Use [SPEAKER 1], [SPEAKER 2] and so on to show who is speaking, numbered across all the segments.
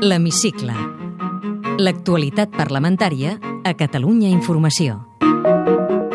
[SPEAKER 1] L'Hemicicle. L'actualitat parlamentària a Catalunya Informació.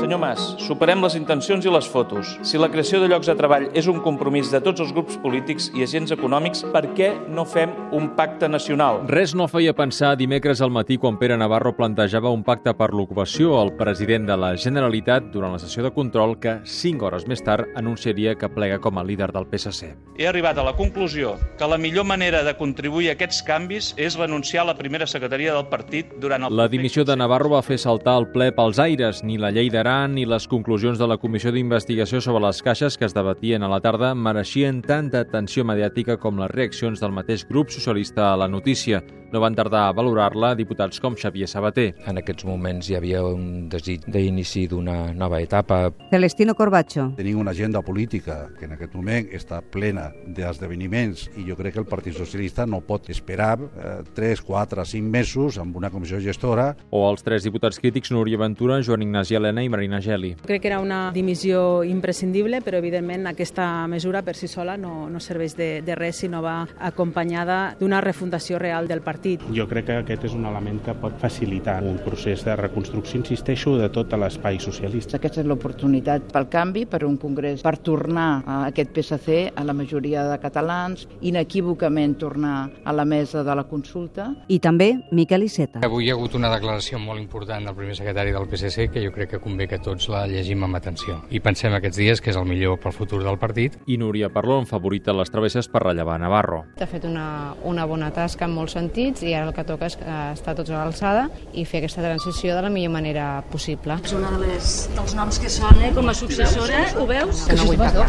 [SPEAKER 2] Senyor Mas, superem les intencions i les fotos. Si la creació de llocs de treball és un compromís de tots els grups polítics i agents econòmics, per què no fem un pacte nacional?
[SPEAKER 3] Res no feia pensar dimecres al matí quan Pere Navarro plantejava un pacte per l'ocupació al president de la Generalitat durant la sessió de control que, cinc hores més tard, anunciaria que plega com a líder del PSC.
[SPEAKER 2] He arribat a la conclusió que la millor manera de contribuir a aquests canvis és renunciar a la primera secretaria del partit durant el...
[SPEAKER 3] La dimissió de Navarro va fer saltar el ple pels aires. Ni la llei d'Aran ni les conclusions de la comissió d'investigació sobre les caixes que es debatien a la tarda mereixien tanta atenció mediàtica com les reaccions del mateix grup socialista a la notícia. No van tardar a valorar-la diputats com Xavier Sabater.
[SPEAKER 4] En aquests moments hi havia un desig d'inici d'una nova etapa.
[SPEAKER 5] Celestino Corbacho.
[SPEAKER 6] Tenim una agenda política que en aquest moment està plena d'esdeveniments i jo crec que el Partit Socialista no pot esperar eh, 3, 4, 5 mesos amb una comissió gestora.
[SPEAKER 3] O els tres diputats crítics Núria Ventura, Joan Ignasi Helena i Marina Geli.
[SPEAKER 7] Crec que era una dimissió imprescindible, però evidentment aquesta mesura per si sola no, no serveix de, de res si no va acompanyada d'una refundació real del partit.
[SPEAKER 8] Jo crec que aquest és un element que pot facilitar un procés de reconstrucció, insisteixo, de tot l'espai socialista.
[SPEAKER 9] Aquesta és l'oportunitat pel canvi, per un congrés, per tornar a aquest PSC a la majoria de catalans, inequívocament tornar a la mesa de la consulta.
[SPEAKER 5] I també Eh, Miquel Iceta.
[SPEAKER 10] Avui hi ha hagut una declaració molt important del primer secretari del PSC que jo crec que convé que tots la llegim amb atenció. I pensem aquests dies que és el millor pel futur del partit.
[SPEAKER 3] I Núria Parlon favorita les travesses per rellevar Navarro.
[SPEAKER 11] Ha fet una, una bona tasca en molts sentits i ara el que toca és estar tots a l'alçada i fer aquesta transició de la millor manera possible.
[SPEAKER 12] És una de les, dels noms que sona com a successora, ho veus? Que no vull parlar.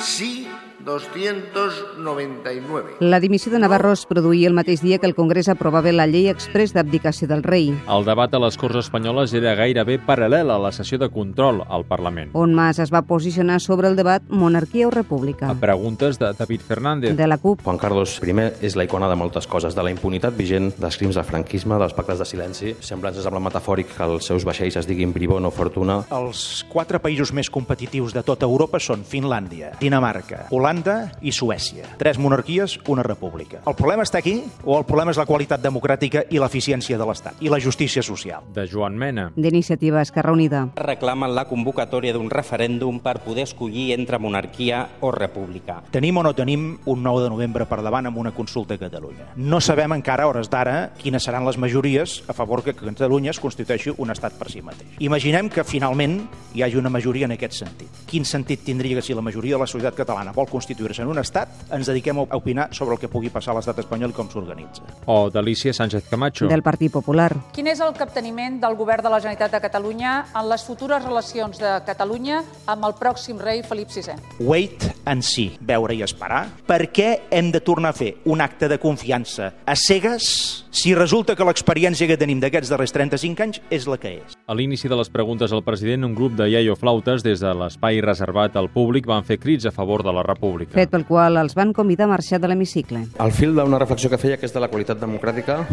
[SPEAKER 13] Sí, 299.
[SPEAKER 5] La dimissió de Navarro es produïa el mateix dia que el Congrés aprovava la llei express d'abdicació del rei,
[SPEAKER 3] El debat a les Corts Espanyoles era gairebé paral·lel a la sessió de control al Parlament.
[SPEAKER 5] on Mas es va posicionar sobre el debat monarquia o república
[SPEAKER 3] A preguntes de David Fernández.
[SPEAKER 5] de la CUP.
[SPEAKER 14] Juan Carlos I és la icona de moltes coses, de la impunitat vigent, dels crims de franquisme, dels pactes de silenci, semblances amb la metafòric que els seus vaixells es diguin Bribón o Fortuna.
[SPEAKER 15] Els quatre països més competitius de tota Europa són Finlàndia, Dinamarca, Holanda i Suècia. Tres monarquies, una república. El problema està aquí o el problema és la qualitat democràtica i l'eficiència de l'Estat i la justícia social?
[SPEAKER 3] De Joan Mena.
[SPEAKER 5] D'iniciativa Esquerra Unida.
[SPEAKER 16] reclamen la convocatòria d'un referèndum per poder escollir entre monarquia o república.
[SPEAKER 15] Tenim o no tenim un 9 de novembre per davant amb una consulta a Catalunya. No sabem encara, a hores d'ara, quines seran les majories a favor que Catalunya es constitueixi un estat per si mateix. Imaginem que finalment hi hagi una majoria en aquest sentit. Quin sentit tindria que si la majoria de la societat catalana vol constituir-se en un estat, ens dediquem a opinar sobre el que pugui passar a l'estat espanyol i com s'organitza?
[SPEAKER 3] O d'Alicia Sánchez Camacho.
[SPEAKER 5] Del Partit Popular.
[SPEAKER 17] Quin és el capteniment del govern de la Generalitat de Catalunya en les futures relacions de Catalunya amb el pròxim rei Felip VI?
[SPEAKER 15] Wait and see, veure i esperar. Per què hem de tornar a fer un acte de confiança a cegues si resulta que l'experiència que tenim d'aquests darrers 35 anys és la que és?
[SPEAKER 3] A l'inici de les preguntes al president, un grup de iaio flautes des de l'espai reservat al públic van fer crits a favor de la república.
[SPEAKER 5] Fet pel qual els van convidar a marxar de l'hemicicle.
[SPEAKER 14] Al fil d'una reflexió que feia, que és de la qualitat democràtica,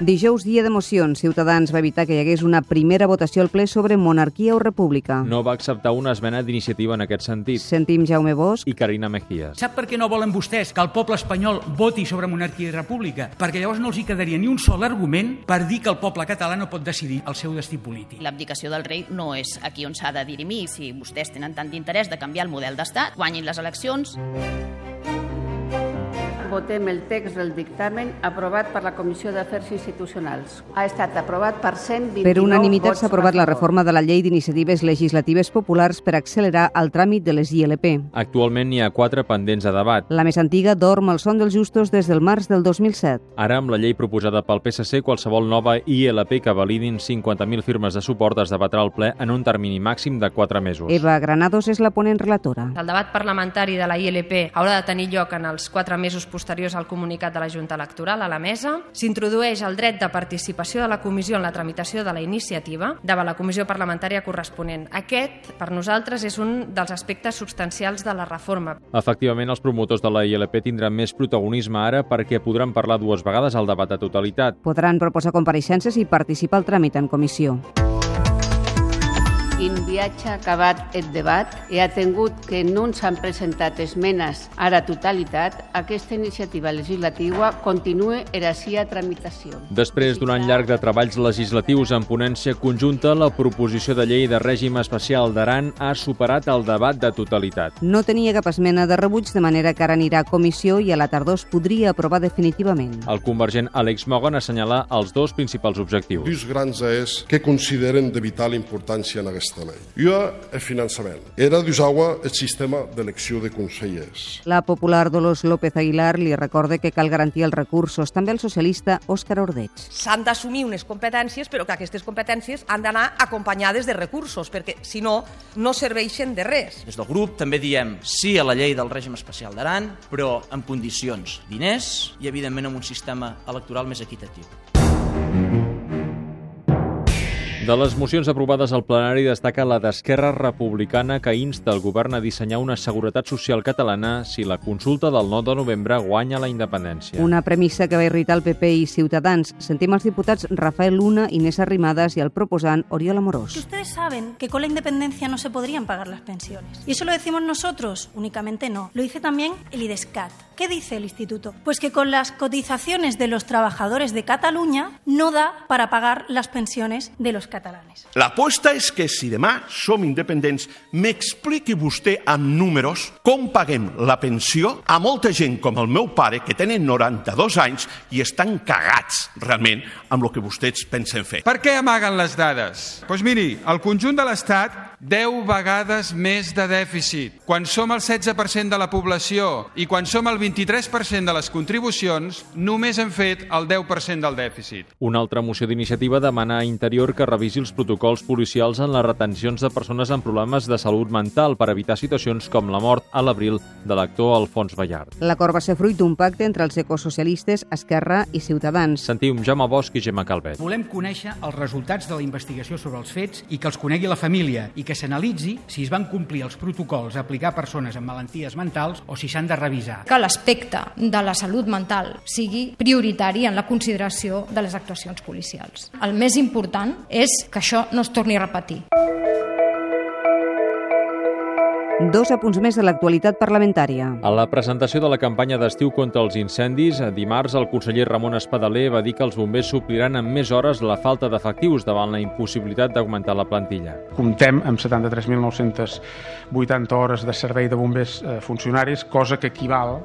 [SPEAKER 5] Dijous, dia d'emocions, Ciutadans va evitar que hi hagués una primera votació al ple sobre monarquia o república.
[SPEAKER 3] No va acceptar una esmena d'iniciativa en aquest sentit.
[SPEAKER 5] Sentim Jaume Bosch.
[SPEAKER 3] I Carina Mejías.
[SPEAKER 18] Sap per què no volen vostès que el poble espanyol voti sobre monarquia i república? Perquè llavors no els hi quedaria ni un sol argument per dir que el poble català no pot decidir el seu destí polític.
[SPEAKER 12] L'abdicació del rei no és aquí on s'ha de dirimir. Si vostès tenen tant d'interès de canviar el model d'estat, guanyin les eleccions.
[SPEAKER 11] Votem el text del dictamen aprovat per la Comissió d'Afers Institucionals. Ha estat aprovat per 129
[SPEAKER 5] Per unanimitat s'ha aprovat la reforma de la llei d'iniciatives legislatives populars per accelerar el tràmit de les ILP.
[SPEAKER 3] Actualment n'hi ha quatre pendents de debat.
[SPEAKER 5] La més antiga dorm al son dels justos des del març del 2007.
[SPEAKER 3] Ara, amb la llei proposada pel PSC, qualsevol nova ILP que validin 50.000 firmes de suport es debatrà al ple en un termini màxim de 4 mesos.
[SPEAKER 5] Eva Granados és la ponent relatora.
[SPEAKER 11] El debat parlamentari de la ILP haurà de tenir lloc en els quatre mesos posteriors al comunicat de la Junta Electoral a la mesa. S'introdueix el dret de participació de la comissió en la tramitació de la iniciativa davant la comissió parlamentària corresponent. Aquest, per nosaltres, és un dels aspectes substancials de la reforma.
[SPEAKER 3] Efectivament, els promotors de la ILP tindran més protagonisme ara perquè podran parlar dues vegades al debat de totalitat.
[SPEAKER 5] Podran proposar compareixences i participar al tràmit en comissió.
[SPEAKER 13] Quin viatge ha acabat el debat i ha tingut que no ens han presentat esmenes a la totalitat, aquesta iniciativa legislativa continua en la seva tramitació.
[SPEAKER 3] Després d'un any llarg de treballs legislatius en ponència conjunta, la proposició de llei de règim especial d'Aran ha superat el debat de totalitat.
[SPEAKER 5] No tenia cap esmena de rebuig, de manera que ara anirà a comissió i a la tardor es podria aprovar definitivament.
[SPEAKER 3] El convergent Àlex Mogon assenyalà els dos principals objectius.
[SPEAKER 19] Lluís Granza és que consideren de vital importància en aquesta llei. I el eh, finançament. Era d'usar el sistema d'elecció de consellers.
[SPEAKER 5] La popular Dolors López Aguilar li recorda que cal garantir els recursos, també el socialista Òscar Ordeig.
[SPEAKER 20] S'han d'assumir unes competències, però que aquestes competències han d'anar acompanyades de recursos, perquè si no, no serveixen de res.
[SPEAKER 21] Des del grup també diem sí a la llei del règim especial d'Aran, però amb condicions diners i, evidentment, amb un sistema electoral més equitatiu.
[SPEAKER 3] De les mocions aprovades al plenari destaca la d'Esquerra Republicana que insta el govern a dissenyar una seguretat social catalana si la consulta del 9 de novembre guanya la independència.
[SPEAKER 5] Una premissa que va irritar el PP i Ciutadans. Sentim els diputats Rafael Luna, Inés Arrimadas i el proposant Oriol Amorós.
[SPEAKER 22] Ustedes saben que con la independencia no se podrían pagar las pensiones. ¿Y eso lo decimos nosotros? Únicamente no. Lo dice también el IDESCAT. ¿Qué dice el instituto? Pues que con las cotizaciones de los trabajadores de Cataluña no da para pagar las pensiones de los catalanes.
[SPEAKER 23] La aposta és que si demà som independents, m'expliqui vostè amb números com paguem la pensió a molta gent com el meu pare, que tenen 92 anys i estan cagats realment amb el que vostès pensen fer.
[SPEAKER 24] Per què amaguen les dades? Doncs pues miri, el conjunt de l'Estat 10 vegades més de dèficit. Quan som el 16% de la població i quan som el 23% de les contribucions, només hem fet el 10% del dèficit.
[SPEAKER 3] Una altra moció d'iniciativa demana a Interior que revisi els protocols policials en les retencions de persones amb problemes de salut mental per evitar situacions com la mort a l'abril de l'actor Alfons Ballart.
[SPEAKER 5] L'acord va ser fruit d'un pacte entre els ecosocialistes, Esquerra i Ciutadans.
[SPEAKER 3] Sentim Jaume Bosch i Gemma Calvet.
[SPEAKER 18] Volem conèixer els resultats de la investigació sobre els fets i que els conegui la família i que s'analitzi si es van complir els protocols a aplicar a persones amb malalties mentals o si s'han de revisar.
[SPEAKER 25] Que l'aspecte de la salut mental sigui prioritari en la consideració de les actuacions policials. El més important és que això no es torni a repetir.
[SPEAKER 5] Dos apunts més de l'actualitat parlamentària.
[SPEAKER 3] A la presentació de la campanya d'estiu contra els incendis, dimarts el conseller Ramon Espadaler va dir que els bombers supliran amb més hores la falta d'efectius davant la impossibilitat d'augmentar la plantilla.
[SPEAKER 26] Comptem amb 73.980 hores de servei de bombers eh, funcionaris, cosa que equival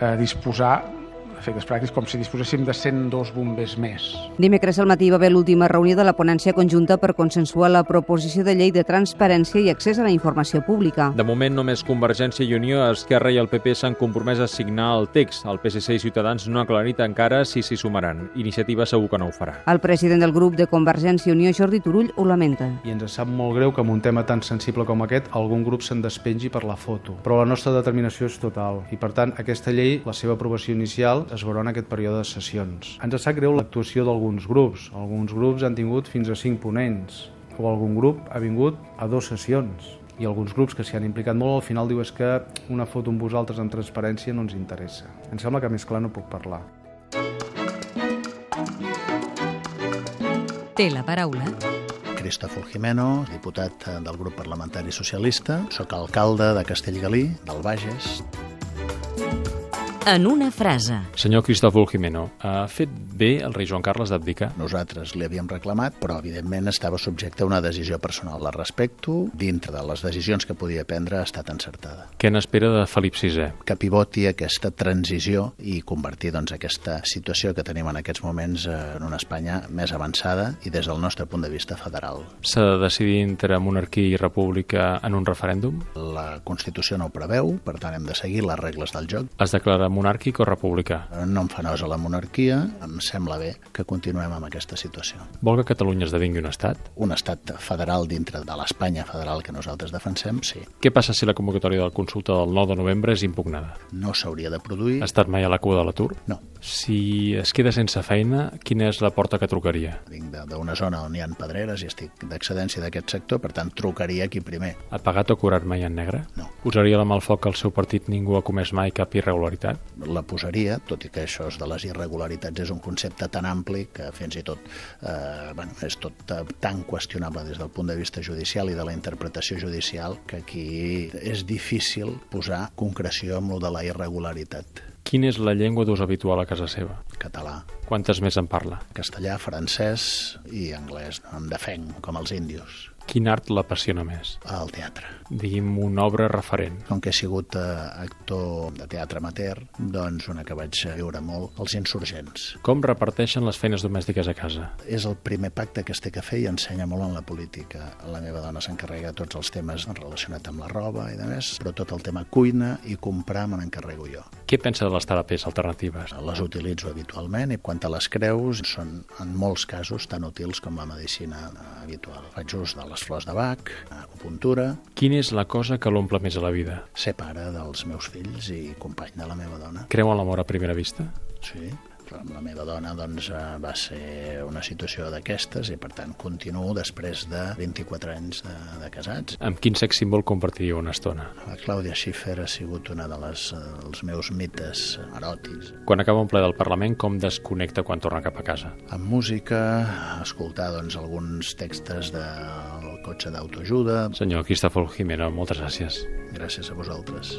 [SPEAKER 26] a disposar efectes pràctics com si disposéssim de 102 bombers més.
[SPEAKER 5] Dimecres al matí va haver l'última reunió de la ponència conjunta per consensuar la proposició de llei de transparència i accés a la informació pública.
[SPEAKER 3] De moment, només Convergència i Unió, Esquerra i el PP s'han compromès a signar el text. El PSC i Ciutadans no ha aclarit encara si s'hi sumaran. Iniciativa segur que no ho farà.
[SPEAKER 5] El president del grup de Convergència i Unió, Jordi Turull, ho lamenta.
[SPEAKER 27] I ens sap molt greu que amb un tema tan sensible com aquest algun grup se'n despengi per la foto. Però la nostra determinació és total i, per tant, aquesta llei, la seva aprovació inicial, es veurà en aquest període de sessions. Ens sap greu l'actuació d'alguns grups. Alguns grups han tingut fins a 5 ponents o algun grup ha vingut a dues sessions i alguns grups que s'hi han implicat molt al final diu és que una foto amb vosaltres en transparència no ens interessa. Em sembla que més clar no puc parlar.
[SPEAKER 1] Té la paraula
[SPEAKER 28] Cristòfol Jimeno, diputat eh, del grup parlamentari socialista, sóc alcalde de Castellgalí, del Bages.
[SPEAKER 1] En una frase.
[SPEAKER 3] Senyor Cristòfol Jimeno, ha fet bé el rei Joan Carles d'abdicar?
[SPEAKER 28] Nosaltres li havíem reclamat, però evidentment estava subjecte a una decisió personal. La respecto, dintre de les decisions que podia prendre ha estat encertada.
[SPEAKER 3] Què n'espera de Felip VI?
[SPEAKER 28] Que pivoti aquesta transició i convertir doncs, aquesta situació que tenim en aquests moments eh, en una Espanya més avançada i des del nostre punt de vista federal.
[SPEAKER 3] S'ha de decidir entre monarquia i república en un referèndum?
[SPEAKER 28] La Constitució no ho preveu, per tant hem de seguir les regles del joc. Eh,
[SPEAKER 3] Es declara monàrquic o republicà?
[SPEAKER 28] No em fa nosa la monarquia, em sembla bé que continuem amb aquesta situació.
[SPEAKER 3] Vol que Catalunya esdevingui un estat?
[SPEAKER 28] Un estat federal dintre de l'Espanya federal que nosaltres defensem, sí.
[SPEAKER 3] Què passa si la convocatòria de la consulta del 9 de novembre és impugnada?
[SPEAKER 28] No s'hauria de produir.
[SPEAKER 3] Ha estat mai a la cua de l'atur?
[SPEAKER 28] No.
[SPEAKER 3] Si es queda sense feina, quina és la porta que trucaria?
[SPEAKER 28] Vinc d'una zona on hi ha pedreres i estic d'excedència d'aquest sector, per tant trucaria aquí primer.
[SPEAKER 3] Ha pagat o curat mai en negre?
[SPEAKER 28] No.
[SPEAKER 3] Posaria la mà al foc que el seu partit ningú ha comès mai cap irregularitat?
[SPEAKER 28] La posaria, tot i que això és de les irregularitats és un concepte tan ampli que fins i tot eh, bueno, és tot eh, tan qüestionable des del punt de vista judicial i de la interpretació judicial que aquí és difícil posar concreció amb el de la irregularitat.
[SPEAKER 3] Quina és la llengua d'ús habitual a casa seva?
[SPEAKER 28] Català,
[SPEAKER 3] Quantes més en parla?
[SPEAKER 28] castellà, francès i anglès. Em defenc, com els índios,
[SPEAKER 3] Quin art l'apassiona més?
[SPEAKER 28] al teatre.
[SPEAKER 3] Digui'm una obra referent.
[SPEAKER 28] Com que he sigut eh, actor de teatre amateur, doncs una que vaig viure molt, Els Insurgents.
[SPEAKER 3] Com reparteixen les feines domèstiques a casa?
[SPEAKER 28] És el primer pacte que es té que fer i ensenya molt en la política. La meva dona s'encarrega de tots els temes relacionats amb la roba i de més, però tot el tema cuina i comprar me n'encarrego jo.
[SPEAKER 3] Què pensa de les terapies alternatives?
[SPEAKER 28] Les utilitzo habitualment i quant a les creus, són en molts casos tan útils com la medicina eh, habitual. Faig ús de les flors de bac, acupuntura,
[SPEAKER 3] Quina és la cosa que l'omple més a la vida?
[SPEAKER 28] ser pare dels meus fills i company de la meva dona.
[SPEAKER 3] Creu en l'amor a primera vista?
[SPEAKER 28] Sí, però amb la meva dona doncs, eh, va ser una situació d'aquestes i per tant continuo després de 24 anys de, de casats.
[SPEAKER 3] Amb quin sex símbol compartiria una estona?
[SPEAKER 28] La Clàudia Schiffer ha sigut una de les, eh, dels meus mites eròtics.
[SPEAKER 3] Quan acaba un ple del Parlament, com desconnecta quan torna cap a casa?
[SPEAKER 28] Amb música, escoltar doncs, alguns textos del cotxe d'autoajuda.
[SPEAKER 3] Senyor, aquí està Fol Jimeno, moltes gràcies.
[SPEAKER 28] Gràcies a vosaltres.